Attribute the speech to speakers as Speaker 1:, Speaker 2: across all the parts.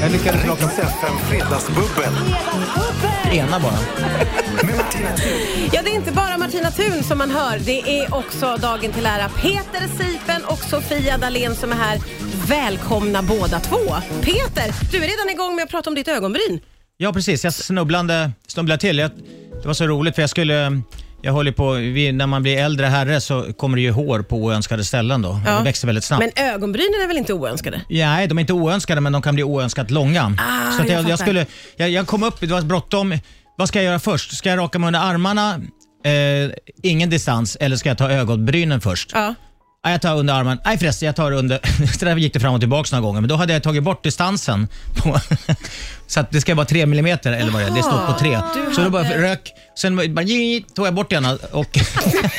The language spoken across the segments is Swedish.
Speaker 1: Jag lyckades plocka
Speaker 2: Riks FM Fredagsbubbel
Speaker 1: ena bara.
Speaker 2: med Martina Thun.
Speaker 3: Ja, det är inte bara Martina Thun som man hör. Det är också dagen till ära Peter Sipen och Sofia Dalén som är här. Välkomna båda två. Peter, du är redan igång med att prata om ditt ögonbryn.
Speaker 1: Ja, precis. Jag snubblande, snubblade till. Jag, det var så roligt för jag skulle... Jag håller på, vi, när man blir äldre herre så kommer det ju hår på oönskade ställen då.
Speaker 3: Ja.
Speaker 1: Det växer väldigt snabbt.
Speaker 3: Men ögonbrynen är väl inte oönskade?
Speaker 1: Nej, de är inte oönskade men de kan bli oönskat långa.
Speaker 3: Ah,
Speaker 1: så att
Speaker 3: jag
Speaker 1: jag, jag,
Speaker 3: fattar.
Speaker 1: skulle, jag, jag kom upp, det var bråttom. Vad ska jag göra först? Ska jag raka mig under armarna, eh, ingen distans, eller ska jag ta ögonbrynen först?
Speaker 3: Ja.
Speaker 1: Nej, jag tar under armen. Nej förresten, jag tar under... Så där gick det fram och tillbaka några gånger, men då hade jag tagit bort distansen. På, så att det ska vara tre millimeter eller vad det är. Det står på tre. Så då bara rök, sen bara, jitt, tog jag bort den och...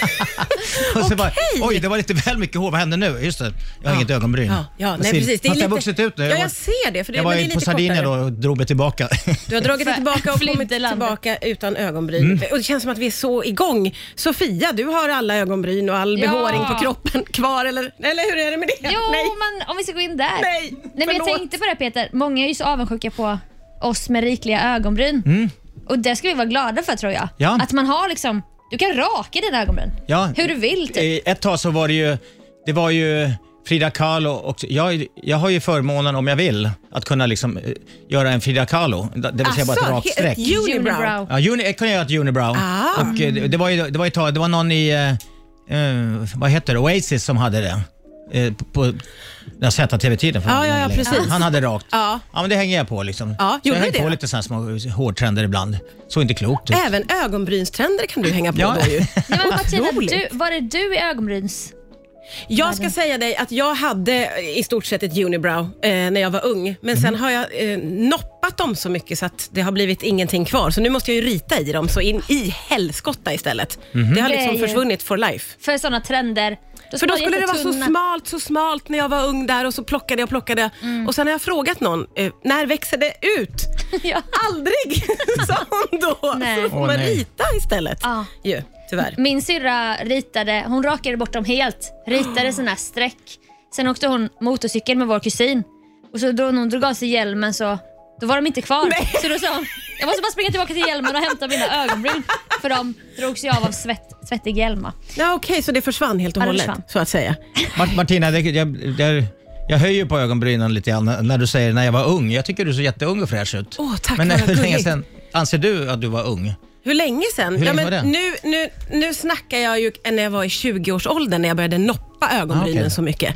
Speaker 1: och så bara, oj, det var lite väl mycket hår. Vad hände nu? Just det, jag har inget ögonbryn.
Speaker 3: Ja, ja. Nej,
Speaker 1: Fast det-
Speaker 3: precis. Det är
Speaker 1: Fast jag
Speaker 3: lite-
Speaker 1: har vuxit ut nu.
Speaker 3: Ja, jag
Speaker 1: var-
Speaker 3: ser det, för det-
Speaker 1: jag var
Speaker 3: men det är
Speaker 1: ju på
Speaker 3: lite
Speaker 1: Sardinien då
Speaker 3: kortare.
Speaker 1: och drog mig tillbaka.
Speaker 3: Du har dragit dig
Speaker 4: För-
Speaker 3: tillbaka och kommit
Speaker 4: flydde landet.
Speaker 3: tillbaka utan ögonbryn. Och det känns som att vi är så igång. Sofia, du har alla ögonbryn och all
Speaker 4: Ja.
Speaker 3: behåring på kroppen kvar, eller, eller hur är det med det?
Speaker 4: Jo,
Speaker 3: Nej.
Speaker 4: men om vi ska gå in där.
Speaker 3: Nej,
Speaker 4: Nej men jag
Speaker 3: förlåt.
Speaker 4: tänkte på det här, Peter, många är ju så avundsjuka på oss med rikliga ögonbryn.
Speaker 3: Mm.
Speaker 4: Och det ska vi vara glada för tror jag.
Speaker 1: Ja.
Speaker 4: Att man har liksom, du kan raka dina ögonbryn
Speaker 1: Ja.
Speaker 4: hur du vill. Typ.
Speaker 1: Eh, Ett tag så var det ju, det var ju Frida Kahlo och jag, jag har ju förmånen om jag vill att kunna liksom eh, göra en Frida Kahlo, det vill säga bara ett rakt
Speaker 3: Alltså, he- ett
Speaker 1: streck.
Speaker 3: unibrow.
Speaker 1: Ja, uni, jag kunde göra ett unibrow.
Speaker 3: Ah.
Speaker 1: Och eh, det, det var ju, det var ju ett tag, det var någon i, eh, eh, vad heter det, Oasis som hade det. Eh, på- på jag har sett av TV-tiden för
Speaker 3: Ja,
Speaker 1: länge,
Speaker 3: ja, ja,
Speaker 1: länge sedan.
Speaker 3: precis.
Speaker 1: Han hade rakt.
Speaker 3: Ja.
Speaker 1: men det hänger jag på liksom.
Speaker 3: Ja,
Speaker 1: så jag
Speaker 3: gjorde du
Speaker 1: hänger
Speaker 3: det Äh,
Speaker 1: på
Speaker 3: då?
Speaker 1: lite sådana små hårtrender ibland. Så inte klokt. ut.
Speaker 3: Även ögonbrynstrender kan du hänga på
Speaker 1: Ja.
Speaker 3: då ju.
Speaker 4: Nej, men Martina,
Speaker 3: Otroligt.
Speaker 4: du, var det du i ögonbryns...
Speaker 3: Jag ska säga dig att jag hade i stort sett ett unibrow eh, när jag var ung. Men
Speaker 4: Mhm.
Speaker 3: sen har jag eh, noppat dem så mycket så att det har blivit ingenting kvar. Så nu måste jag ju rita i dem så in i helskotta istället. Det har
Speaker 4: Det är
Speaker 3: liksom
Speaker 4: ju-
Speaker 3: försvunnit for life.
Speaker 4: För sådana trender.
Speaker 3: För
Speaker 4: ska
Speaker 3: då
Speaker 4: man
Speaker 3: skulle det vara så
Speaker 4: jättetunna-
Speaker 3: smalt, så smalt när jag var ung där och så plockade jag och plockade.
Speaker 4: Mm.
Speaker 3: Och sen har jag frågat någon, eh, när växer det ut?
Speaker 4: ja.
Speaker 3: Aldrig, sa hon då.
Speaker 4: Nej.
Speaker 3: Så får
Speaker 1: Åh,
Speaker 3: man
Speaker 1: nej.
Speaker 3: rita istället.
Speaker 4: Ja.
Speaker 3: Ju, tyvärr.
Speaker 4: Min syrra ritade, hon rakade bort dem helt. Ritade sina streck. Sen åkte hon motorcykel med vår kusin. Och så då när hon drog av sig hjälmen så då var de inte kvar. Så då sa hon, jag måste bara springa tillbaka till hjälmen och hämta mina ögonbryn. För de drog sig av av svett, svettig hjälma.
Speaker 3: Ja, Okej, så det försvann helt och
Speaker 4: Ja, det
Speaker 3: hållet
Speaker 4: försvann.
Speaker 3: så att säga.
Speaker 1: Mart- Martina, det, jag, jag, jag höjer ju på ögonbrynen lite grann när du säger när jag var ung. Jag tycker du ser jätteung och fräsch ut.
Speaker 3: Åh, tack,
Speaker 1: Men eh,
Speaker 3: vad
Speaker 1: hur länge
Speaker 3: gulligt.
Speaker 1: sedan anser du att du var ung?
Speaker 3: Hur länge sen?
Speaker 1: Hur
Speaker 3: ja,
Speaker 1: länge
Speaker 3: men
Speaker 1: var det?
Speaker 3: Nu, nu, nu snackar jag ju när jag var i 20-årsåldern när jag började noppa ögonbrynen
Speaker 1: Ah, okej. Mm.
Speaker 3: så mycket.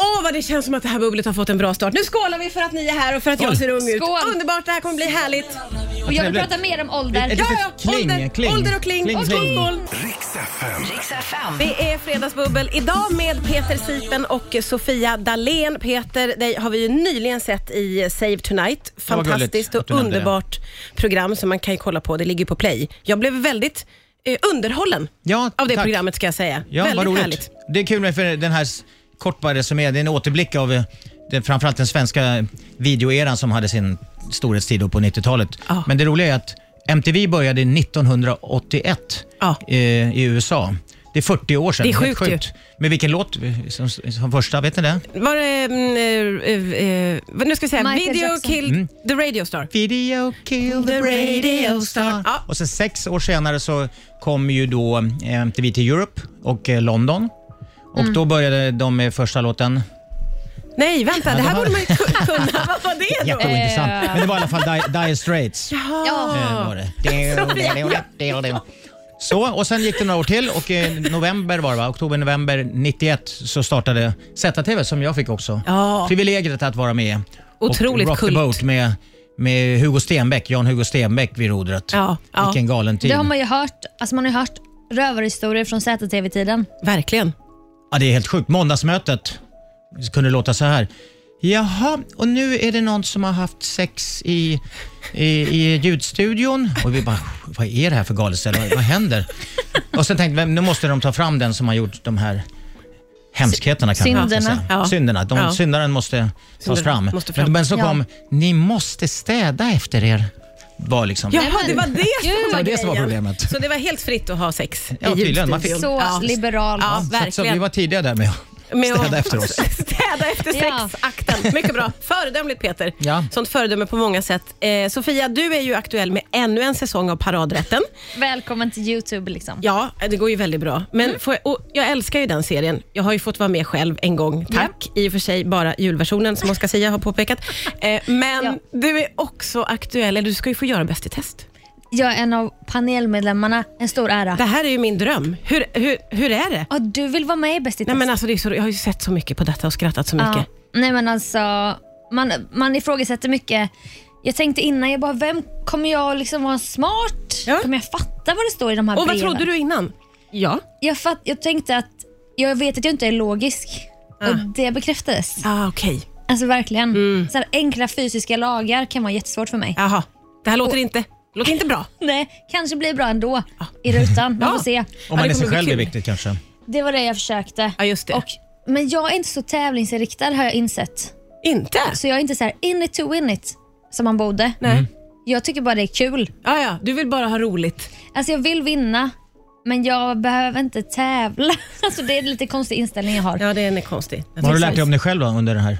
Speaker 3: Åh, vad det känns som att det här bubblet har fått en bra start. Nu skålar vi för att ni är här och för att jag
Speaker 1: Skål.
Speaker 3: ser ung ut.
Speaker 4: Skål.
Speaker 3: Underbart, det här kommer bli härligt.
Speaker 4: Och jag vill
Speaker 1: trevligt.
Speaker 4: prata mer om ålder.
Speaker 1: Ett
Speaker 3: Ja,
Speaker 1: litet
Speaker 3: ja,
Speaker 1: kling,
Speaker 3: ålder,
Speaker 1: kling.
Speaker 3: ålder och kling.
Speaker 1: Kling,
Speaker 3: och
Speaker 1: kling.
Speaker 3: skål.
Speaker 2: Riks FM.
Speaker 5: Riks FM.
Speaker 3: Det är Fredagsbubbel idag med Peter Sipen och Sofia Dalén. Peter, dig har vi ju nyligen sett i Save Tonight.
Speaker 1: var gulligt
Speaker 3: Fantastiskt
Speaker 1: att
Speaker 3: och
Speaker 1: du nämnde det.
Speaker 3: underbart program som man kan ju kolla på. Det ligger på Play. Jag blev väldigt eh, underhållen
Speaker 1: Ja,
Speaker 3: av det
Speaker 1: tack.
Speaker 3: programmet ska jag säga.
Speaker 1: Ja,
Speaker 3: väldigt
Speaker 1: vad roligt.
Speaker 3: härligt.
Speaker 1: Det är kul med för den här s- kort bara resumé, det är en återblick av eh, den, framförallt den svenska videoeran som hade sin storhetstid då på 90-talet.
Speaker 3: Ja.
Speaker 1: Men det roliga är att MTV började 1981
Speaker 3: Ja.
Speaker 1: eh, i USA. Det är 40 år sedan.
Speaker 3: Det är
Speaker 1: Helt
Speaker 3: sjukt ju.
Speaker 1: Men vilken låt eh, som, som första, vet ni det?
Speaker 3: Var det, mm, eh, eh, vad nu ska jag säga,
Speaker 4: Michael
Speaker 3: Video
Speaker 4: Jackson.
Speaker 3: Killed
Speaker 1: Mm.
Speaker 3: the Radio Star.
Speaker 1: Video kill the radio star.
Speaker 3: Ja.
Speaker 1: Och sen sex år senare så kom ju då eh, MTV till Europe och eh, London. Och då började de med första låten.
Speaker 3: Nej, vänta, det
Speaker 1: det
Speaker 3: här
Speaker 1: var-
Speaker 3: borde man ju ku- kunna. Vad var det då?
Speaker 1: Jätteointressant. Men det var i alla fall Dire, dire Straits.
Speaker 4: Ja.
Speaker 1: Eh, var det. Så, och sen gick det några år till och i november var det va? Oktober, november 91 så startade ZTV som jag fick också.
Speaker 3: Ja.
Speaker 1: Privilegiet att vara med.
Speaker 3: Otroligt
Speaker 1: och Rock
Speaker 3: kult.
Speaker 1: the Boat med, med Hugo Stenbeck, Jan-Hugo Stenbeck vid rodret.
Speaker 3: Ja, ja.
Speaker 1: Vilken galen tid.
Speaker 4: Det har man ju hört, alltså man har ju hört rövarhistorier från ZTV-tiden.
Speaker 3: Verkligen.
Speaker 1: Ja, det är helt sjukt. Måndagsmötet kunde låta så här. Jaha, och nu är det någon som har haft sex i, i, i ljudstudion. Och vi bara, vad är det här för galet ställe? Vad, vad händer? Och sen tänkte vi, nu måste de ta fram den som har gjort de här hemskheterna. Kan man
Speaker 4: Synderna.
Speaker 1: säga.
Speaker 3: Ja.
Speaker 1: Synderna. De,
Speaker 3: Ja.
Speaker 1: Syndaren måste tas
Speaker 3: Syndaren
Speaker 1: fram.
Speaker 3: måste fram.
Speaker 1: Men, men så
Speaker 4: Ja.
Speaker 1: kom, ni måste städa efter er. Var liksom.
Speaker 3: Jaha,
Speaker 4: men-
Speaker 3: det var det
Speaker 4: Gud.
Speaker 3: som
Speaker 4: Det
Speaker 3: var
Speaker 4: var
Speaker 1: det som var
Speaker 3: grejen.
Speaker 1: problemet.
Speaker 3: Så det var helt fritt att ha sex
Speaker 1: Ja,
Speaker 3: i
Speaker 1: tydligen. Man
Speaker 3: ljudstudion.
Speaker 4: Så
Speaker 3: ja.
Speaker 4: liberal.
Speaker 3: Ja,
Speaker 1: Så, att- så vi
Speaker 3: verkligen.
Speaker 1: var tidiga där med
Speaker 3: Med
Speaker 1: Städa efter oss.
Speaker 3: Städa efter
Speaker 4: Ja.
Speaker 3: sexakten. Mycket bra. Föredömligt Peter.
Speaker 1: Ja.
Speaker 3: Sånt föredöme på många sätt. Eh, Sofia, du är ju aktuell med ännu en säsong av Paradrätten.
Speaker 4: Välkommen till Youtube liksom.
Speaker 3: Ja, det går ju väldigt bra. Men
Speaker 4: Mm.
Speaker 3: får jag, och jag älskar ju den serien. Jag har ju fått vara med själv en gång, tack. I och för sig bara julversionen som Oscar Sia har påpekat. Eh, men
Speaker 4: Ja.
Speaker 3: du är också aktuell, eller du ska ju få göra Bäst i test.
Speaker 4: Jag är en av panelmedlemmarna, en stor ära.
Speaker 3: Det här är ju min dröm. Hur, hur, hur är det?
Speaker 4: Ja, du vill vara med i Bäst i
Speaker 3: Nej,
Speaker 4: test?
Speaker 3: men alltså, det är så, jag har ju sett så mycket på detta och skrattat så
Speaker 4: Ja.
Speaker 3: mycket.
Speaker 4: Nej men alltså, man, man ifrågasätter mycket. Jag tänkte innan, jag bara, vem kommer jag liksom vara smart?
Speaker 3: Ja.
Speaker 4: Kommer jag fatta vad det står i de här
Speaker 3: Och vad
Speaker 4: breven?
Speaker 3: trodde du innan? Ja.
Speaker 4: Jag, fatt, jag tänkte att jag vet att jag inte är logisk. Och det bekräftades.
Speaker 3: Ah, Okej.
Speaker 4: Alltså verkligen.
Speaker 3: Mm.
Speaker 4: Så här, enkla fysiska lagar kan vara jättesvårt för mig.
Speaker 3: Jaha. Det här låter inte, låter inte bra.
Speaker 4: Nej, kanske blir bra ändå i rutan. Man
Speaker 3: Ja.
Speaker 4: får se.
Speaker 1: Om man
Speaker 3: det
Speaker 1: är sig
Speaker 3: kommer bli
Speaker 1: själv är
Speaker 3: kul.
Speaker 1: viktigt kanske.
Speaker 4: Det var det jag försökte.
Speaker 3: Ja, just det.
Speaker 4: Och, men jag är inte så tävlingsinriktad har jag insett.
Speaker 3: Inte?
Speaker 4: Så jag är inte så här in it to win it som man borde.
Speaker 3: Nej.
Speaker 4: Jag tycker bara det är kul.
Speaker 3: Ja, ja. Du vill bara ha roligt.
Speaker 4: Alltså jag vill vinna, men jag behöver inte tävla. Alltså det är lite konstig inställning jag har.
Speaker 3: Ja, den är konstig.
Speaker 1: Vad har du lärt dig om dig själv då, under den här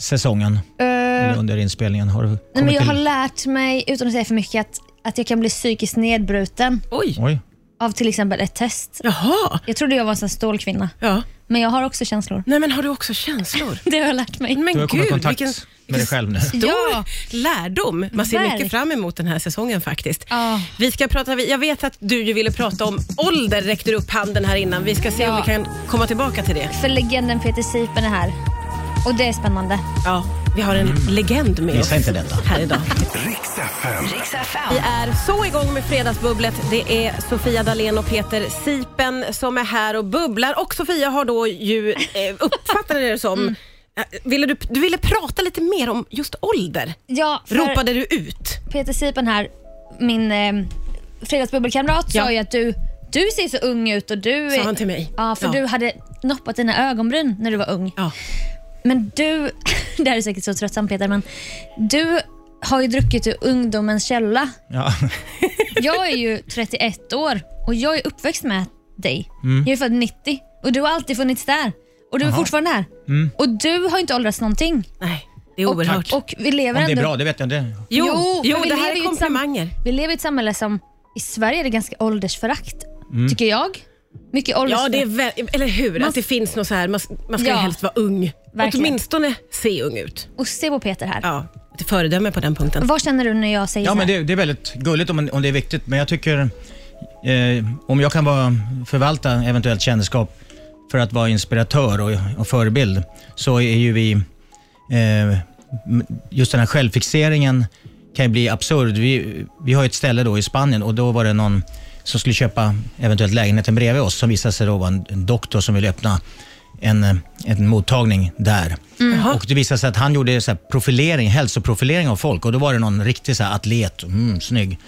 Speaker 1: säsongen?
Speaker 4: Eh,
Speaker 1: Eller under inspelningen? Har du
Speaker 4: nej,
Speaker 1: kommit
Speaker 4: men jag har
Speaker 1: till...
Speaker 4: lärt mig, utan att säga för mycket, att, att jag kan bli psykiskt nedbruten
Speaker 3: Oj.
Speaker 1: Oj.
Speaker 4: av till exempel ett test.
Speaker 3: Jaha.
Speaker 4: Jag trodde jag var en sån här stålkvinna,
Speaker 3: Ja.
Speaker 4: men jag har också känslor.
Speaker 3: Nej, men har du också känslor?
Speaker 4: Det har jag lärt mig.
Speaker 3: Men
Speaker 1: Du har kommit i
Speaker 3: gud,
Speaker 1: kontakt
Speaker 3: vilken
Speaker 1: med dig själv nu.
Speaker 3: stor
Speaker 4: Ja.
Speaker 3: lärdom. Man ser mycket
Speaker 4: Verk-
Speaker 3: fram emot den här säsongen faktiskt.
Speaker 4: Ja.
Speaker 3: Vi ska prata, jag vet att du ju ville prata om ålder, räckte du upp handen här innan. Vi ska se om
Speaker 4: Ja.
Speaker 3: vi kan komma tillbaka till det.
Speaker 4: För legenden Peter Sipen är här. Och det är spännande.
Speaker 3: Ja, vi har en legend med
Speaker 1: Mm. Missa
Speaker 3: oss
Speaker 1: inte detta.
Speaker 3: här idag.
Speaker 2: Riks FM.
Speaker 3: Vi är så igång med Fredagsbubblet. Det är Sofia Dalén och Peter Sipen som är här och bubblar. Och Sofia har då ju, eh, uppfattade det som,
Speaker 4: Mm.
Speaker 3: eh, ville du, du ville prata lite mer om just ålder.
Speaker 4: Ja, för
Speaker 3: Ropade du ut?
Speaker 4: Peter Sipen här, min eh, fredagsbubbelkamrat,
Speaker 3: Ja.
Speaker 4: sa ju att du, du ser så ung ut och du...
Speaker 3: Sa
Speaker 4: är-
Speaker 3: han till mig.
Speaker 4: Ja, för
Speaker 3: Ja.
Speaker 4: du hade noppat dina ögonbryn när du var ung.
Speaker 3: Ja.
Speaker 4: Men du, det här är säkert så tröttsamt Peter, men du har ju druckit ur ungdomens källa.
Speaker 1: Ja.
Speaker 4: Jag är ju 31 år och jag är uppväxt med dig. Jag är född 90 och du har alltid funnits där. Och du är fortfarande här. Och du har inte åldrats någonting.
Speaker 3: Nej, det är
Speaker 4: Och,
Speaker 3: oerhört.
Speaker 4: och vi lever
Speaker 1: Om det är
Speaker 4: ändå...
Speaker 1: bra, det vet jag inte.
Speaker 3: Jo, jo,
Speaker 4: Jo, för vi
Speaker 3: det här är
Speaker 4: lever ju i ett Mm.
Speaker 3: komplimanger.
Speaker 4: Vi lever i ett samhälle som, i Sverige är det ganska åldersförakt,
Speaker 1: Mm.
Speaker 4: tycker jag. Mycket
Speaker 3: Ja,
Speaker 4: åldersförakt.
Speaker 3: det är väl, eller hur?
Speaker 4: Man-
Speaker 3: att det finns något så här, man, man ska
Speaker 4: Ja.
Speaker 3: ju helst vara ung.
Speaker 4: Verkligen.
Speaker 3: Åtminstone se ung ut.
Speaker 4: Och se på Peter här.
Speaker 3: Ja, ett föredöme på den punkten.
Speaker 4: Vad känner du när jag säger
Speaker 1: Ja,
Speaker 4: så här?
Speaker 1: men det, det är väldigt gulligt om, om det är viktigt, men jag tycker eh, om jag kan vara, förvalta eventuellt kändisskap för att vara inspiratör och, och förebild så är ju vi... Eh, m- just den här självfixeringen kan ju bli absurd. Vi, vi har ju ett ställe då i Spanien och då var det någon som skulle köpa eventuellt lägenheten bredvid oss som visade sig då vara en, en doktor som ville öppna en, eh, en mottagning där.
Speaker 3: Jaha.
Speaker 1: Och Det visade sig att han gjorde så här profilering, hälsoprofilering av folk och då var det någon riktig så här atlet, mm, snygg.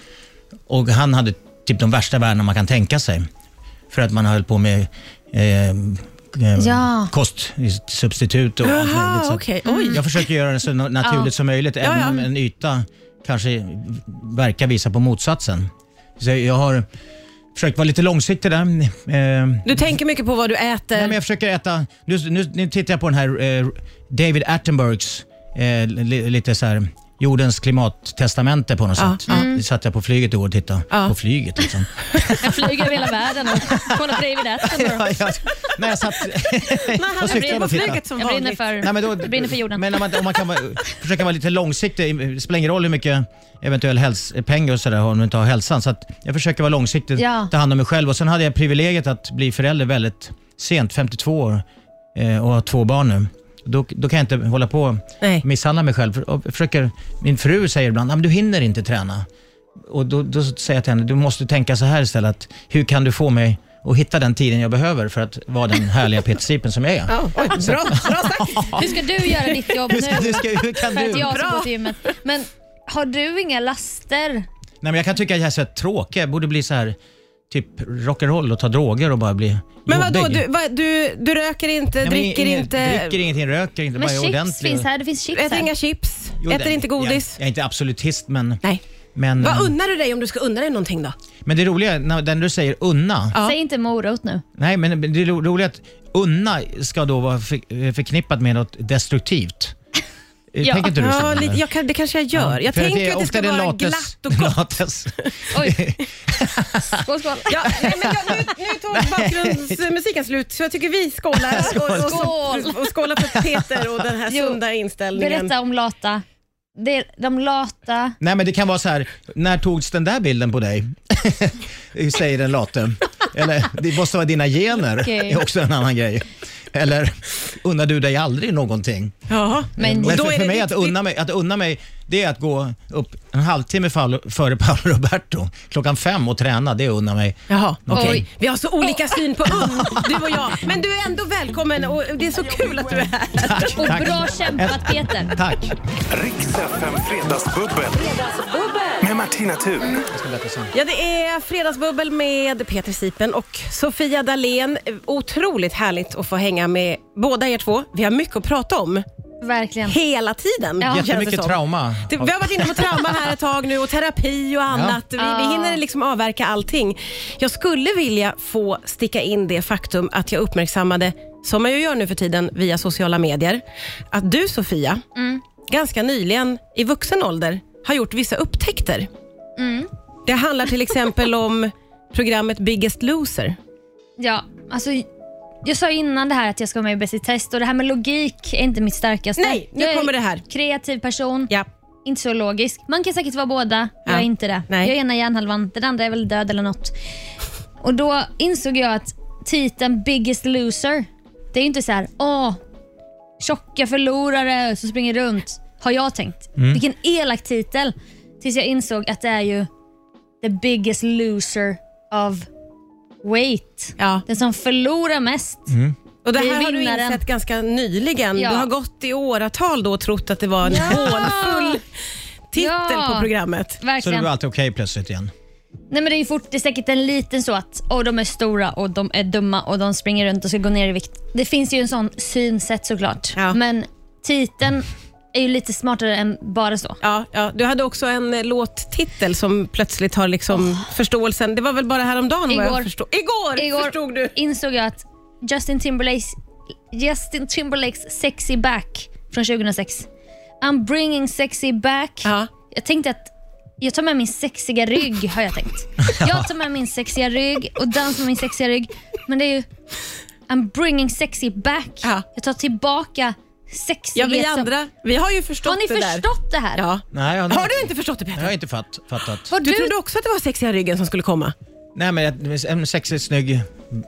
Speaker 1: Och han hade typ de värsta värdena man kan tänka sig. För att man höll på med eh, eh,
Speaker 4: Ja.
Speaker 1: kostsubstitut och allt
Speaker 3: Jaha,
Speaker 1: möjligt. Så att-
Speaker 3: okej. Oj.
Speaker 1: Jag försöker göra det så na- naturligt som möjligt, även
Speaker 3: ja.
Speaker 1: om en yta kanske verkar visa på motsatsen. Så jag har försökt vara lite långsiktig där. Eh,
Speaker 3: Du tänker mycket på vad du äter.
Speaker 1: Nej, men jag försöker äta... Nu, nu, nu tittar jag på den här eh, David Attenbergs, eh, li, lite så här, jordens klimattestamente på något
Speaker 3: Ja,
Speaker 1: sätt. Mm. satt jag på flyget igår och tittade.
Speaker 3: Ja.
Speaker 1: På flyget liksom.
Speaker 4: Jag flyger över hela världen och kollar på David Attenborough.
Speaker 1: Ja, jag, när jag satt...
Speaker 3: Nej, han brinner
Speaker 1: Och cyklade
Speaker 3: på
Speaker 1: och tittade.
Speaker 3: flyget som
Speaker 4: Jag brinner
Speaker 3: vanligt.
Speaker 1: Nej,
Speaker 4: för,
Speaker 1: men då,
Speaker 4: jag brinner för jorden.
Speaker 1: Men om man, om man kan vara, försöka vara lite långsiktig, det spelar ingen roll hur mycket eventuell häls, pengar och sådär har om du inte har hälsan. Så att jag försöker vara långsiktig,
Speaker 4: Ja.
Speaker 1: ta hand om mig själv. Och Sen hade jag privilegiet att bli förälder väldigt sent, 52 år, eh, och har två barn nu. Då, då kan jag inte hålla på och
Speaker 3: Nej.
Speaker 1: misshandla mig själv. För- och Försöker, min fru säger ibland att du hinner inte träna. Och då, då säger jag till henne, du måste tänka så här istället. Att, hur kan du få mig att hitta den tiden jag behöver för att vara den härliga Peter Sipen som jag är?
Speaker 3: Ja, oj, bra, bra sagt.
Speaker 4: Hur ska du göra ditt jobb nu?
Speaker 1: Hur, ska, hur, ska, hur kan
Speaker 4: För att
Speaker 1: du?
Speaker 4: jag ska
Speaker 3: Bra.
Speaker 4: gå till gymmet. Men har du inga laster?
Speaker 1: Nej, men jag kan tycka att jag är så här tråkig. Jag borde bli så här typ rock'n'roll och ta droger och bara bli
Speaker 3: Men vadå,
Speaker 1: jobbig.
Speaker 3: du, vad, du, du röker inte,
Speaker 1: Nej, men
Speaker 3: dricker
Speaker 1: ingen-
Speaker 3: inte,
Speaker 1: Dricker ingenting, röker inte,
Speaker 4: Men
Speaker 1: bara är
Speaker 4: chips
Speaker 1: ordentlig.
Speaker 4: finns här. Det finns chips
Speaker 3: äter
Speaker 4: här.
Speaker 3: inga chips,
Speaker 1: Jo,
Speaker 3: äter
Speaker 1: det-
Speaker 3: inte godis.
Speaker 1: Jag, jag är inte absolutist men...
Speaker 3: Nej.
Speaker 1: men
Speaker 3: Vad unnar du dig om du ska unna dig någonting då?
Speaker 1: Men det roliga, är när den du säger unna.
Speaker 3: Ja.
Speaker 4: Säg inte morot nu.
Speaker 1: Nej, men det ro- roliga är att unna ska då vara för- förknippat med något destruktivt. Eh,
Speaker 4: Ja.
Speaker 1: Tänker inte du så?
Speaker 3: Ja,
Speaker 1: eller?
Speaker 3: lite, jag kan, det kanske jag gör. jag
Speaker 1: För
Speaker 3: tänker
Speaker 1: är
Speaker 3: att det
Speaker 1: ofta
Speaker 3: ska
Speaker 1: den
Speaker 3: vara
Speaker 1: lates-
Speaker 3: glatt och gott.
Speaker 1: Lates.
Speaker 4: Oj. Skål, skål.
Speaker 3: Ja, nej, men jag, nu, nu tog bakgrundsmusiken slut, så jag tycker vi skålar och, och,
Speaker 4: Skål.
Speaker 3: och, och skålar för Peter och den här
Speaker 4: Jo.
Speaker 3: sunda inställningen.
Speaker 4: Berätta om lata. Det, de lata.
Speaker 1: Nej, men det kan vara så här, när togs den där bilden på dig? Säger den late. Eller, det måste vara dina gener.
Speaker 4: Okej.
Speaker 1: Det är också en annan grej. Eller, unnar du dig aldrig någonting?
Speaker 3: Ja.
Speaker 4: Men,
Speaker 1: Men
Speaker 3: Mm. då
Speaker 1: för,
Speaker 3: är
Speaker 1: för
Speaker 3: det
Speaker 1: mig att
Speaker 3: viktigt-
Speaker 1: unna mig, att unna mig, det är att gå upp en halvtimme fall, före Paolo Roberto klockan fem och träna. Det är att unna mig.
Speaker 3: Jaha, okej.
Speaker 4: Oj.
Speaker 3: Vi har så olika syn på ung, du och jag. Men du är ändå välkommen och det är så kul att du är här.
Speaker 1: Tack,
Speaker 4: och
Speaker 1: tack.
Speaker 4: bra kämpat Peter.
Speaker 1: Tack.
Speaker 2: Riks FM Fredagsbubbel. Med Martina Thun.
Speaker 3: Ja, det är Fredagsbubbel med Peter Sipen och Sofia Dalén. Otroligt härligt att få hänga med båda er två. Vi har mycket att prata om
Speaker 4: Verkligen.
Speaker 3: hela tiden.
Speaker 4: Ja.
Speaker 3: känns det
Speaker 1: Jättemycket
Speaker 3: som.
Speaker 1: trauma.
Speaker 3: Typ, vi har varit inne på trauma här ett tag nu och terapi och annat. Vi, vi hinner liksom avverka allting. Jag skulle vilja få sticka in det faktum att jag uppmärksammade, som man ju gör nu för tiden via sociala medier, att du Sofia,
Speaker 4: Mm.
Speaker 3: ganska nyligen i vuxen ålder har gjort vissa upptäckter.
Speaker 4: Mm.
Speaker 3: Det handlar till exempel om programmet Biggest Loser.
Speaker 4: Ja, alltså, jag sa ju innan det här att jag ska vara med i Bäst i test och det här med logik är inte mitt starkaste.
Speaker 3: Nej, nu
Speaker 4: jag är
Speaker 3: kommer det här.
Speaker 4: kreativ person,
Speaker 3: Ja.
Speaker 4: inte så logisk. Man kan säkert vara båda, jag
Speaker 3: Ja.
Speaker 4: är inte det.
Speaker 3: Nej.
Speaker 4: Jag är ena hjärnhalvan, den andra är väl död eller något. Och då insåg jag att titeln Biggest Loser, det är ju inte så här, åh, tjocka förlorare som springer runt, har jag tänkt. Vilken elak titel. Tills jag insåg att det är ju The Biggest Loser of Weight.
Speaker 3: Ja.
Speaker 4: Den som förlorar mest.
Speaker 1: Mm.
Speaker 3: Och det
Speaker 4: Det är
Speaker 3: här har du
Speaker 4: vinnaren.
Speaker 3: insett ganska nyligen.
Speaker 4: Ja.
Speaker 3: Du har gått i åratal då och trott att det var en
Speaker 4: Ja.
Speaker 3: hånfull titel
Speaker 4: Ja.
Speaker 3: på programmet.
Speaker 1: Så det
Speaker 4: Verkligen.
Speaker 1: var
Speaker 4: Nej,
Speaker 1: allt okej plötsligt igen.
Speaker 4: men det, är ju fort, det är säkert en liten så att oh, de är stora och de är dumma och de springer runt och ska gå ner i vikt. Det finns ju en sån synsätt såklart.
Speaker 3: Ja.
Speaker 4: Men titeln är ju lite smartare än bara så.
Speaker 3: Ja, ja, du hade också en eh, låttitel som plötsligt har liksom förståelsen. Det var väl bara häromdagen vad
Speaker 4: Igår.
Speaker 3: jag förstod. Igår,
Speaker 4: Igår
Speaker 3: förstod du.
Speaker 4: insåg jag att Justin Timberlakes, Justin Timberlakes Sexy Back från 2006. I'm bringing sexy back.
Speaker 3: Ja.
Speaker 4: Jag tänkte att jag tar med min sexiga rygg har jag tänkt. Jag tar med min sexiga rygg och dansar med min sexiga rygg. Men det är ju I'm bringing sexy back.
Speaker 3: Ja.
Speaker 4: Jag tar tillbaka
Speaker 3: Ja,
Speaker 4: sexighet.
Speaker 3: vi
Speaker 4: som-
Speaker 3: andra, vi har ju förstått
Speaker 4: har ni
Speaker 3: det där.
Speaker 4: förstått det här?
Speaker 3: Ja.
Speaker 1: Nej, jag,
Speaker 3: Har du inte förstått det
Speaker 1: jag
Speaker 3: Peter?
Speaker 1: har inte fatt, fattat.
Speaker 4: Har
Speaker 3: Du
Speaker 4: du,
Speaker 3: trodde också att det var sexiga ryggen som skulle komma?
Speaker 1: Nej, men ett- en sexig, snygg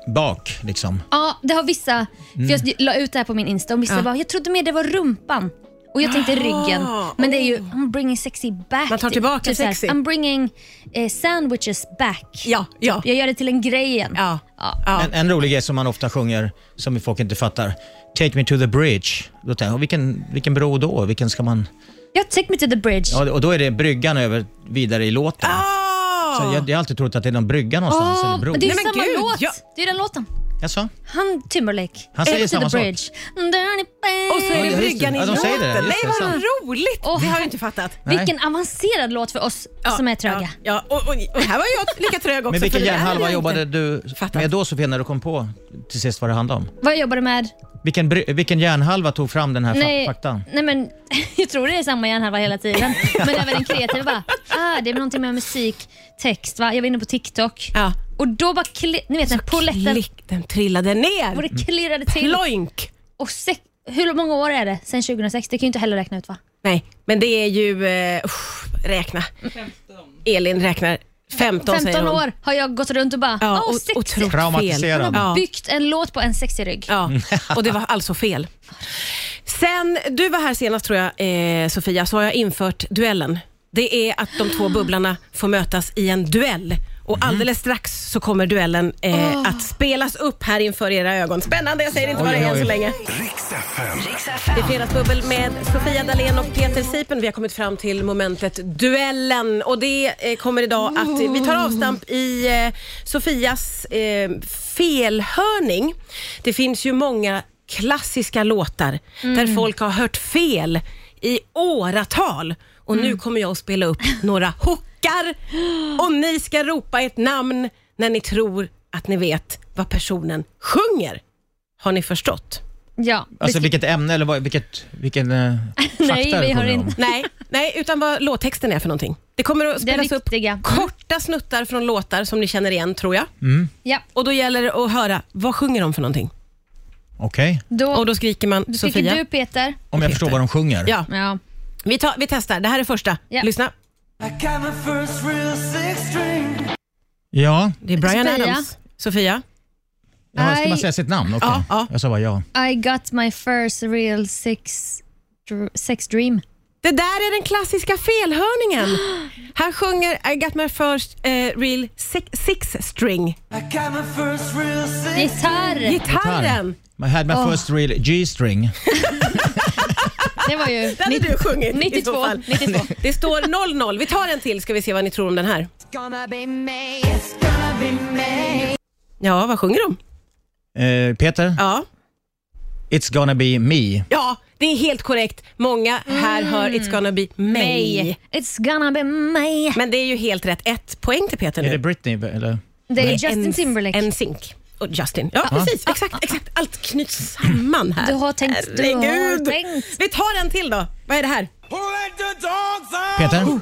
Speaker 1: bak liksom.
Speaker 4: ja, det har vissa. För jag la ut det här på min Insta och vissa
Speaker 3: Mm. Ja.
Speaker 4: bara, jag trodde mer det var rumpan. Och jag tänkte ryggen. Men det är ju I'm bringing sexy back.
Speaker 3: Oh.
Speaker 4: Typ
Speaker 3: Man tar tillbaka
Speaker 4: så här,
Speaker 3: sexy.
Speaker 4: I'm bringing eh, sandwiches back.
Speaker 3: Ja, ja.
Speaker 4: Jag gör det till en grej igen.
Speaker 3: Ja.
Speaker 4: Ja.
Speaker 3: Ja.
Speaker 1: En, en rolig grej som man ofta sjunger, som folk inte fattar. Take me to the bridge. Då tänker jag, och vilken, vilken bro då? Vilken ska man...
Speaker 4: Jag take me to the bridge.
Speaker 1: Ja, och då är det bryggan över vidare i låten.
Speaker 3: Ah!
Speaker 1: Så jag, jag har alltid trott att det är någon brygga någonstans,
Speaker 4: Åh,
Speaker 1: eller bro.
Speaker 4: men Ah, det är ju
Speaker 3: Nej, men
Speaker 4: samma
Speaker 3: gud,
Speaker 4: låt.
Speaker 3: ja.
Speaker 4: Det är den låten.
Speaker 1: Jaså?
Speaker 4: Han Timberlake.
Speaker 1: Han säger
Speaker 4: Take
Speaker 1: samma
Speaker 4: me to the
Speaker 1: sak.
Speaker 4: bridge. Dirty babe.
Speaker 3: Ah! Och så är
Speaker 1: Ja,
Speaker 3: det
Speaker 1: just det.
Speaker 3: bryggan i
Speaker 1: Ja, de
Speaker 3: låten.
Speaker 1: säger det. Just
Speaker 3: Nej,
Speaker 1: det,
Speaker 3: vad
Speaker 1: sant.
Speaker 3: roligt!
Speaker 4: Åh.
Speaker 3: Det har jag inte fattat.
Speaker 1: Nej.
Speaker 4: Vilken avancerad låt för oss
Speaker 3: Ja,
Speaker 4: som är tröga.
Speaker 3: Ja, ja. Och, och, och här var jag lika trög också.
Speaker 1: Men vilken
Speaker 3: för det här hade
Speaker 1: hjärnhalva
Speaker 3: jag
Speaker 1: jobbade
Speaker 3: inte.
Speaker 1: du
Speaker 3: fattat.
Speaker 1: med då Sofia, när du kom på till sist vad det handlade om?
Speaker 4: Vad jag jobbade med?
Speaker 1: Vilken, bry- vilken hjärnhalva tog fram den här fa-
Speaker 4: Nej,
Speaker 1: faktan?
Speaker 4: nej men jag tror det är samma hjärnhalva hela tiden. Men även den kreativa bara, ah, det är någonting med musik, text va? Jag var inne på TikTok.
Speaker 3: Ja.
Speaker 4: Och då bara, kli- ni vet när polletten
Speaker 3: Klick, den trillade
Speaker 4: och
Speaker 3: ner.
Speaker 4: det klirrade till.
Speaker 3: Ploink!
Speaker 4: Och se- hur många år är det sen 2006? Det kan ju inte heller räkna ut va?
Speaker 3: Nej, men det är ju... Eh, uff, räkna. Elin räknar. 15, säger
Speaker 4: 15
Speaker 3: hon.
Speaker 4: år har jag gått runt och bara, "Ah,
Speaker 3: Ja,
Speaker 4: åh
Speaker 3: och,
Speaker 4: sexy.
Speaker 3: och trott fel.
Speaker 1: Traumatiserad.
Speaker 3: Ja,
Speaker 4: Byggt en låt på en sexig rygg.
Speaker 3: ja, och det var alltså fel. Sen du var här senast tror jag, eh, Sofia, så har jag infört duellen. Det är att de två bubblarna får mötas i en duell. Och
Speaker 1: Mhm.
Speaker 3: alldeles strax så kommer duellen eh, att spelas upp här inför era ögon. Spännande, jag säger inte vad det
Speaker 1: Oj,
Speaker 3: är än
Speaker 1: oj,
Speaker 3: så
Speaker 1: oj.
Speaker 3: länge.
Speaker 2: Riks FM.
Speaker 3: Det är Fredagsbubbel med Sofia Dalén och Peter Sipen. Vi har kommit fram till momentet duellen och det eh, kommer idag att eh, vi tar avstamp i eh, Sofias eh, felhörning. Det finns ju många klassiska låtar där folk har hört fel i åratal. Och nu kommer jag att spela upp några hookar och ni ska ropa ett namn när ni tror att ni vet vad personen sjunger. Har ni förstått?
Speaker 4: Ja.
Speaker 1: Alltså
Speaker 4: Beskri-
Speaker 1: vilket ämne eller vad, vilket, vilken eh, fakta
Speaker 4: Nej,
Speaker 1: det
Speaker 4: vi har
Speaker 1: kommer om?
Speaker 4: inte.
Speaker 3: Nej, nej, utan vad låttexten är för någonting. Det kommer att
Speaker 4: Det är
Speaker 3: spelas upp
Speaker 4: viktiga. Mm.
Speaker 3: korta snuttar från låtar som ni känner igen, tror jag.
Speaker 4: Ja,
Speaker 3: Och då gäller det att höra, vad sjunger de för någonting?
Speaker 1: Okej,
Speaker 4: då,
Speaker 3: Och då skriker man
Speaker 4: då skriker
Speaker 3: Sofia.
Speaker 4: du Peter.
Speaker 1: om jag förstår vad de sjunger.
Speaker 3: Ja,
Speaker 4: Ja.
Speaker 3: vi, tar, vi testar. Det här är första.
Speaker 4: Ja.
Speaker 3: Lyssna.
Speaker 1: Ja,
Speaker 3: Det är Brian
Speaker 4: Sofia.
Speaker 3: Adams. Sofia.
Speaker 1: ja ska
Speaker 4: I-
Speaker 1: man säga sitt namn? Okej.
Speaker 3: Ja, ja.
Speaker 1: Jag sa bara ja.
Speaker 4: I got my first real sex, dr- sex dream.
Speaker 3: Det där är den klassiska felhörningen. Han sjunger I got my first eh, real six, six string.
Speaker 4: Gitarr!
Speaker 3: Gitarren.
Speaker 1: I had my
Speaker 4: Åh.
Speaker 1: first real G-string.
Speaker 4: Det var ju...
Speaker 3: Den hade du sjungit i så
Speaker 4: 92.
Speaker 3: fall.
Speaker 4: 92.
Speaker 3: Det står 0-0. Vi tar en till ska vi se vad ni tror om den här. Ja, vad sjunger de?
Speaker 1: Eh, Peter,
Speaker 3: Ja,
Speaker 1: It's gonna be me.
Speaker 3: ja det är helt korrekt. Många här hör
Speaker 4: Mm.
Speaker 3: It's gonna be me.
Speaker 4: May. It's gonna be May.
Speaker 3: Men det är ju helt rätt. Ett poäng till Peter
Speaker 1: Är det
Speaker 3: nu.
Speaker 1: Britney eller?
Speaker 4: Det är
Speaker 3: Nej,
Speaker 4: Justin
Speaker 3: en-
Speaker 4: Timberlake.
Speaker 3: En synk. Och Justin. Ja, precis. Exakt, exakt. Allt knyts samman här.
Speaker 4: Du har tänkt, du har
Speaker 3: Herregud.
Speaker 4: tänkt.
Speaker 3: Vi tar en till då. Vad är det här?
Speaker 1: Peter?
Speaker 4: Oh.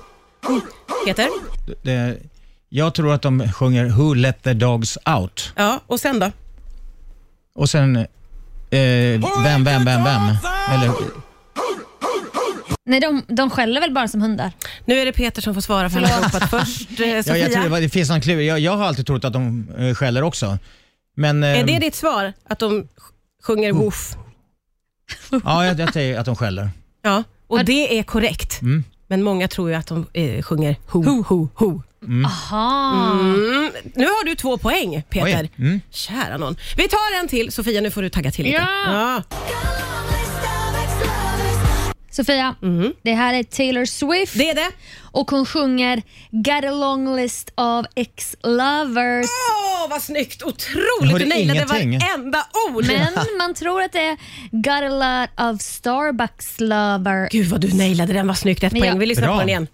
Speaker 3: Peter?
Speaker 1: Det, jag tror att de sjunger Who let the dogs out.
Speaker 3: Ja, och sen då?
Speaker 1: Och sen eh, Vem, vem, vem, vem? Eller,
Speaker 4: Nej, de, de skäller väl bara som hundar?
Speaker 3: Nu är det Peter som får svara för han har ropat först. Eh,
Speaker 1: ja,
Speaker 3: Sofia,
Speaker 1: jag tror det, var- det finns någon klur. Jag, jag har alltid trott att de eh, skäller också. Men, eh,
Speaker 3: är det ditt svar? Att de sj- sjunger woof?
Speaker 1: Ja, jag, jag säger att de skäller.
Speaker 3: Ja, och det är korrekt.
Speaker 1: Mm.
Speaker 3: Men många tror ju att de eh, sjunger ho, ho, ho.
Speaker 4: Aha.
Speaker 3: Mm. Nu har du två poäng, Peter.
Speaker 1: Oj, mm.
Speaker 3: Kära någon. Vi tar en till. Sofia, nu får du tagga till lite.
Speaker 4: Ja. Sofia, det här är Taylor Swift
Speaker 3: Mm. Det är det.
Speaker 4: och hon sjunger Got a long list of ex-lovers.
Speaker 3: Åh, vad snyggt!
Speaker 1: Jag
Speaker 3: Otroligt!
Speaker 1: hörde
Speaker 3: Du nailade
Speaker 1: ingenting.
Speaker 3: varenda ord.
Speaker 4: Men man tror att det är Got a lot of Starbucks lover.
Speaker 3: Gud vad du nailade den, vad snyggt. Ett
Speaker 4: Men
Speaker 3: poäng.
Speaker 4: jag-
Speaker 3: Vi lyssnar
Speaker 1: Bra.
Speaker 3: på den igen.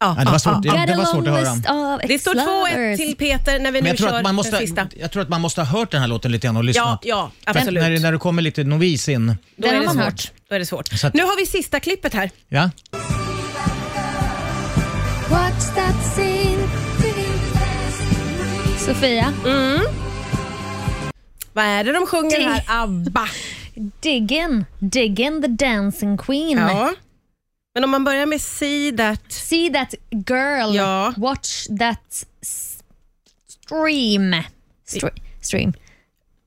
Speaker 3: Ja,
Speaker 1: Ja, det, var svårt,
Speaker 3: ja, ja.
Speaker 1: ja,
Speaker 4: Got
Speaker 1: det
Speaker 4: a
Speaker 1: var svårt
Speaker 4: long
Speaker 1: att höra.
Speaker 4: list of
Speaker 3: Det står 2-1
Speaker 4: ex-lovers.
Speaker 3: till Peter när vi
Speaker 1: Men
Speaker 3: nu
Speaker 1: jag tror,
Speaker 3: kör
Speaker 1: att man
Speaker 3: den
Speaker 1: måste,
Speaker 3: sista.
Speaker 1: jag tror att man måste ha hört den här låten lite grann och
Speaker 3: Ja,
Speaker 1: lyssnat.
Speaker 3: ja,
Speaker 1: För att
Speaker 3: absolut.
Speaker 1: När, det- när det kommer lite novis in.
Speaker 3: Då
Speaker 4: Den
Speaker 3: är
Speaker 4: har
Speaker 3: det
Speaker 4: man
Speaker 3: svårt.
Speaker 4: hört.
Speaker 3: Då är det svårt.
Speaker 1: Så att-
Speaker 3: Nu har vi sista klippet här.
Speaker 1: Ja?
Speaker 4: What's that scene? Sofia,
Speaker 1: Mm.
Speaker 3: Vad är det de sjunger
Speaker 4: Det-
Speaker 3: här? ABBA.
Speaker 4: Diggin, Diggin the Dancing Queen.
Speaker 3: Ja. Men om man börjar med See That.
Speaker 4: See that girl,
Speaker 3: Ja.
Speaker 4: watch that s- stream. Stre- stream.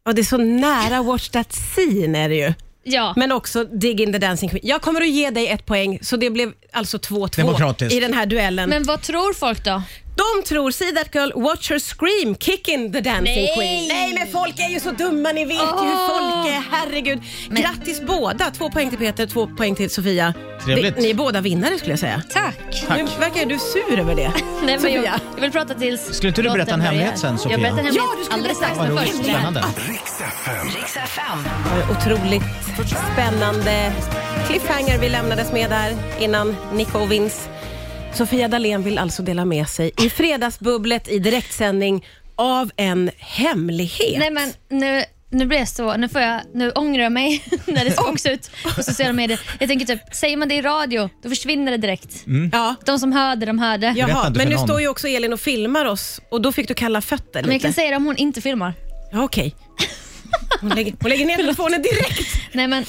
Speaker 3: Ja, det är så nära Watch That Scene är det ju.
Speaker 4: Ja,
Speaker 3: Men också Dig In The Dancing Queen. Jag kommer att ge dig ett poäng, så det blev alltså 2-2
Speaker 1: Demokratiskt.
Speaker 3: i den här duellen.
Speaker 4: men vad tror folk då?
Speaker 3: De tror See That Girl, Watch Her Scream, Kick In The Dancing
Speaker 4: Nej.
Speaker 3: Queen. Nej, men folk är ju så dumma. Ni vet ju hur folk är. Herregud. Grattis båda. Två poäng till Peter, två poäng till Sofia.
Speaker 1: Trevligt.
Speaker 3: Det- Ni är båda vinnare skulle jag säga.
Speaker 4: Tack.
Speaker 1: Tack.
Speaker 3: Nu verkar ju du sur över det.
Speaker 4: Nej, men jag,
Speaker 3: Sofia.
Speaker 4: jag vill prata tills
Speaker 1: Skulle inte du
Speaker 4: låten
Speaker 1: berätta en
Speaker 4: börjar.
Speaker 1: hemlighet sen, Sofia?
Speaker 4: Jag berättar en
Speaker 3: Ja,
Speaker 4: hemlighet
Speaker 3: du skulle
Speaker 4: alldeles strax.
Speaker 1: Vad
Speaker 4: Men
Speaker 1: roligt,
Speaker 4: först det här.
Speaker 1: spännande.
Speaker 2: Riks FM.
Speaker 3: Det var Eh, Otroligt spännande cliffhanger vi lämnades med där innan Nico Vins. Sofia Dalén vill alltså dela med sig i Fredagsbubblet i direktsändning av en hemlighet.
Speaker 4: Nej, men nu, nu blir jag så... Nu, får jag, nu ångrar jag mig när det spångs ut på sociala medier. Jag tänker typ, säger man det i radio, då försvinner det direkt.
Speaker 3: Mm. Ja.
Speaker 4: De som hörde, de hörde.
Speaker 1: Berätta
Speaker 3: Jaha,
Speaker 1: inte
Speaker 3: men
Speaker 1: för
Speaker 3: nu
Speaker 1: någon.
Speaker 3: står ju också Elin och filmar oss och då fick du kalla fötter
Speaker 4: Men jag
Speaker 3: lite.
Speaker 4: kan säga det om hon inte filmar.
Speaker 3: Ja, Okej. Hon lägger, hon lägger ner telefonen direkt.
Speaker 4: Nej men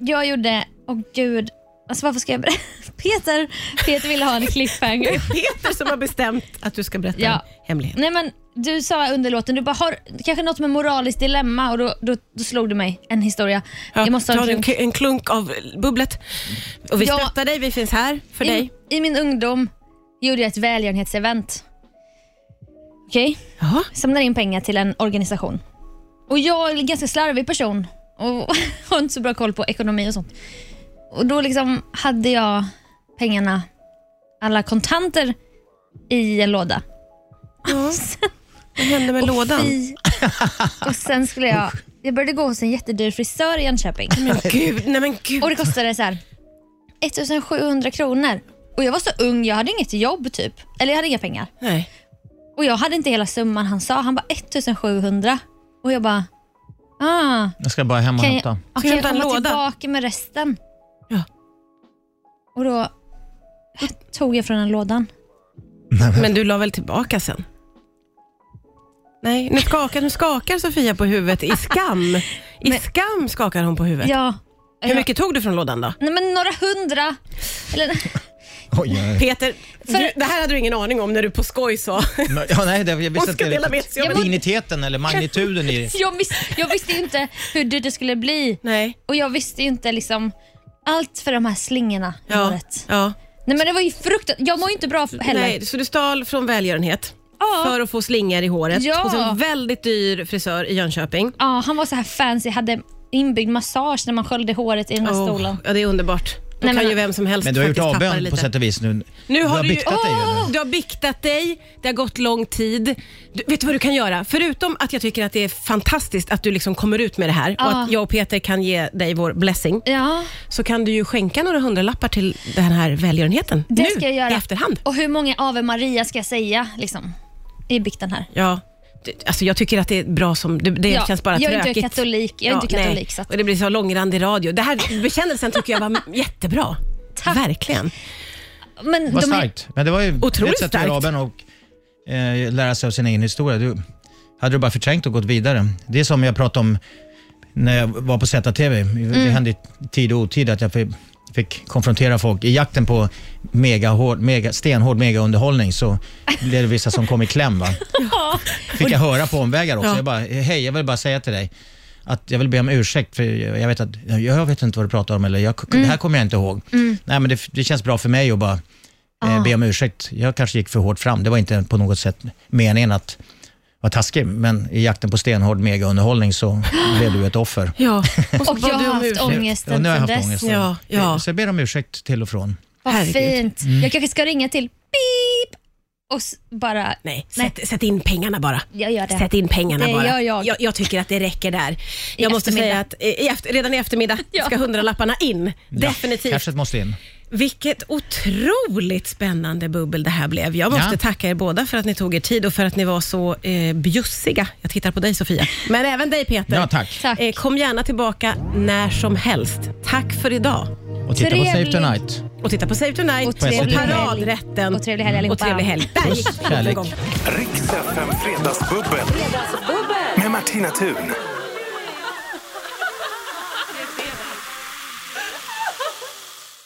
Speaker 4: jag gjorde, åh gud, alltså varför ska jag berätta? Peter, Peter ville ha en cliffhanger.
Speaker 3: Peter som har bestämt att du ska berätta
Speaker 4: Ja.
Speaker 3: en hemlighet.
Speaker 4: Nej men du sa under låten, du bara har kanske något med moraliskt dilemma och då, då, då slog du mig en historia. jag måste ha
Speaker 3: ta
Speaker 4: en
Speaker 3: en,
Speaker 4: klunk.
Speaker 3: k- en klunk av bubblet. Och vi
Speaker 4: Ja.
Speaker 3: stöttar dig, vi finns här för
Speaker 4: I,
Speaker 3: dig.
Speaker 4: I min ungdom gjorde jag ett välgörenhetsevent. Okej?
Speaker 3: Jaha.
Speaker 4: samlar in pengar till en organisation. Och jag är en ganska slarvig person och har inte så bra koll på ekonomi och sånt. Och då liksom hade jag pengarna, alla kontanter, i en låda.
Speaker 3: Vad hände med lådan?
Speaker 4: Fy. Och sen skulle jag, jag började gå hos en jättedyr frisör i Jönköping.
Speaker 3: Gud, nej men gud.
Speaker 4: Och det kostade så här 1700 kronor. Och jag var så ung, jag hade inget jobb typ. Eller jag hade inga pengar.
Speaker 3: Nej.
Speaker 4: Och jag hade inte hela summan han sa. Han bara 1700. Och jag bara, ah,
Speaker 1: Jag ska bara hem och
Speaker 4: kan jag,
Speaker 1: hämta.
Speaker 4: ah, kan jag
Speaker 3: hämta en
Speaker 4: komma
Speaker 3: låda?
Speaker 4: tillbaka med resten?
Speaker 3: Ja.
Speaker 4: Och då tog jag från den lådan.
Speaker 3: Men du la väl tillbaka sen? Nej, nu skakar, nu skakar Sofia på huvudet i skam. I
Speaker 4: Men-
Speaker 3: skam skakar hon på huvudet.
Speaker 4: Ja.
Speaker 3: Hur mycket tog du från lådan då?
Speaker 4: Nej, men några hundra. Eller,
Speaker 1: Oj, oj, oj.
Speaker 3: Peter, du, det här hade du ingen aning om när du på skoj sa
Speaker 1: Ja, nej, det, jag
Speaker 3: hon
Speaker 1: visste
Speaker 3: ska
Speaker 1: inte
Speaker 3: dela med
Speaker 1: riktigt.
Speaker 3: sig av
Speaker 4: Jag
Speaker 3: en
Speaker 4: mår-
Speaker 1: Digniteten eller magnituden i det.
Speaker 4: jag, visste, jag visste ju inte hur dyrt det skulle bli.
Speaker 3: Nej.
Speaker 4: Och jag visste ju inte liksom allt för de här slingorna i
Speaker 3: Ja.
Speaker 4: håret.
Speaker 3: ja.
Speaker 4: Nej men det var ju fruktansvärt. Jag mår ju inte bra heller.
Speaker 3: Nej, så du stal från välgörenhet
Speaker 4: Ja.
Speaker 3: för att få slingor i håret
Speaker 4: Ja.
Speaker 3: hos en väldigt dyr frisör i Jönköping.
Speaker 4: Ja, han var så här fancy, hade inbyggd massage när man sköljde håret i den här
Speaker 3: Åh,
Speaker 4: stolen.
Speaker 3: Ja, det är underbart. Då
Speaker 4: Nej,
Speaker 3: kan
Speaker 4: men-
Speaker 3: ju vem som helst
Speaker 1: Men du har gjort
Speaker 3: faktiskt tappa det
Speaker 1: avbön
Speaker 3: lite.
Speaker 1: på sätt och vis nu.
Speaker 3: Nu har
Speaker 1: du har
Speaker 3: du ju-
Speaker 1: biktat dig ju nu.
Speaker 3: Du har biktat dig, det har gått lång tid. Du, vet du vad du kan göra? Förutom att jag tycker att det är fantastiskt att du liksom kommer ut med det här och
Speaker 4: Ja.
Speaker 3: att jag och Peter kan ge dig vår blessing,
Speaker 4: Ja,
Speaker 3: så kan du ju skänka några hundralappar till den här välgörenheten.
Speaker 4: det
Speaker 3: nu,
Speaker 4: ska jag göra.
Speaker 3: i efterhand.
Speaker 4: Och hur många Ave Maria ska jag säga liksom, i bikten här?
Speaker 3: Ja. Det- Alltså jag tycker att det är bra som... Det, det
Speaker 4: Ja,
Speaker 3: känns bara
Speaker 4: jag är inte
Speaker 3: trökigt.
Speaker 4: katolik, jag är inte
Speaker 3: nej.
Speaker 4: katolik, så att-
Speaker 3: Och det blir så långrandig radio. Det här bekännelsen tycker jag var jättebra.
Speaker 4: Tack.
Speaker 3: Verkligen.
Speaker 4: Men
Speaker 1: Vad
Speaker 4: de här-
Speaker 1: starkt. Men det var ju
Speaker 3: Mm. Otroligt
Speaker 1: ett sätt att göra
Speaker 3: starkt.
Speaker 1: avbön och eh, lära sig av sin egen historia. Du, hade du bara förträngt och gått vidare. Det är som jag pratade om när jag var på ZTV.
Speaker 3: Mm.
Speaker 1: Det hände i tid och otid att jag fick, fick konfrontera folk. I jakten på mega hård, mega, stenhård megaunderhållning så blev det vissa som kom i kläm. Va? Fick jag höra på omvägar också.
Speaker 3: Ja.
Speaker 1: Jag bara, hej, jag vill bara säga till dig att jag vill be om ursäkt för jag jag vet, att, jag vet inte vad du pratar om eller jag, det
Speaker 3: Mm.
Speaker 1: här kommer jag inte ihåg. Nej, men det, det känns bra för mig att bara eh, be om ursäkt. Jag kanske gick för hårt fram. Det var inte på något sätt meningen att vara taskig, men i jakten på stenhård megaunderhållning så blev du ett offer.
Speaker 3: Ja. så
Speaker 4: Och
Speaker 3: bad
Speaker 4: jag har
Speaker 3: du om
Speaker 4: haft
Speaker 3: ursäkt.
Speaker 4: ångesten
Speaker 1: Ja, nu har jag
Speaker 4: sen
Speaker 1: haft
Speaker 4: dess.
Speaker 1: ångest.
Speaker 3: Ja, ja.
Speaker 1: Så jag ber om ursäkt till och från.
Speaker 4: Vad
Speaker 3: Herregud.
Speaker 4: fint.
Speaker 1: Mm.
Speaker 4: Jag kanske ska ringa till beep och s- bara...
Speaker 3: Nej, sätt, sätt in pengarna bara.
Speaker 4: Jag gör det.
Speaker 3: Sätt in pengarna
Speaker 4: Det
Speaker 3: bara.
Speaker 4: gör jag.
Speaker 3: Jag, tycker att det räcker där. Jag måste
Speaker 4: eftermiddag.
Speaker 3: säga att eh, i efter, redan i eftermiddag
Speaker 4: Ja.
Speaker 3: ska hundralapparna in. Definitivt.
Speaker 1: Cashet måste in.
Speaker 3: Vilket otroligt spännande bubbel det här blev. Jag måste
Speaker 1: Ja.
Speaker 3: tacka er båda för att ni tog er tid och för att ni var så eh, bjussiga. Jag tittar på dig Sofia, men även dig Peter.
Speaker 1: Ja, tack.
Speaker 4: Tack.
Speaker 3: Eh, kom gärna tillbaka när som helst. Tack för idag.
Speaker 1: Och titta på Save
Speaker 4: Trevlig-
Speaker 1: Tonight.
Speaker 3: Och titta på Save Tonight
Speaker 4: Och trevlig
Speaker 1: helg.
Speaker 3: paradrätten.
Speaker 4: Och trevlig helg allihopa.
Speaker 3: Och trevlig helg. Där
Speaker 1: Puss,
Speaker 3: gick den på
Speaker 1: kärlek.
Speaker 3: gång.
Speaker 2: Riks FM Fredagsbubbel. Med Martina Thun.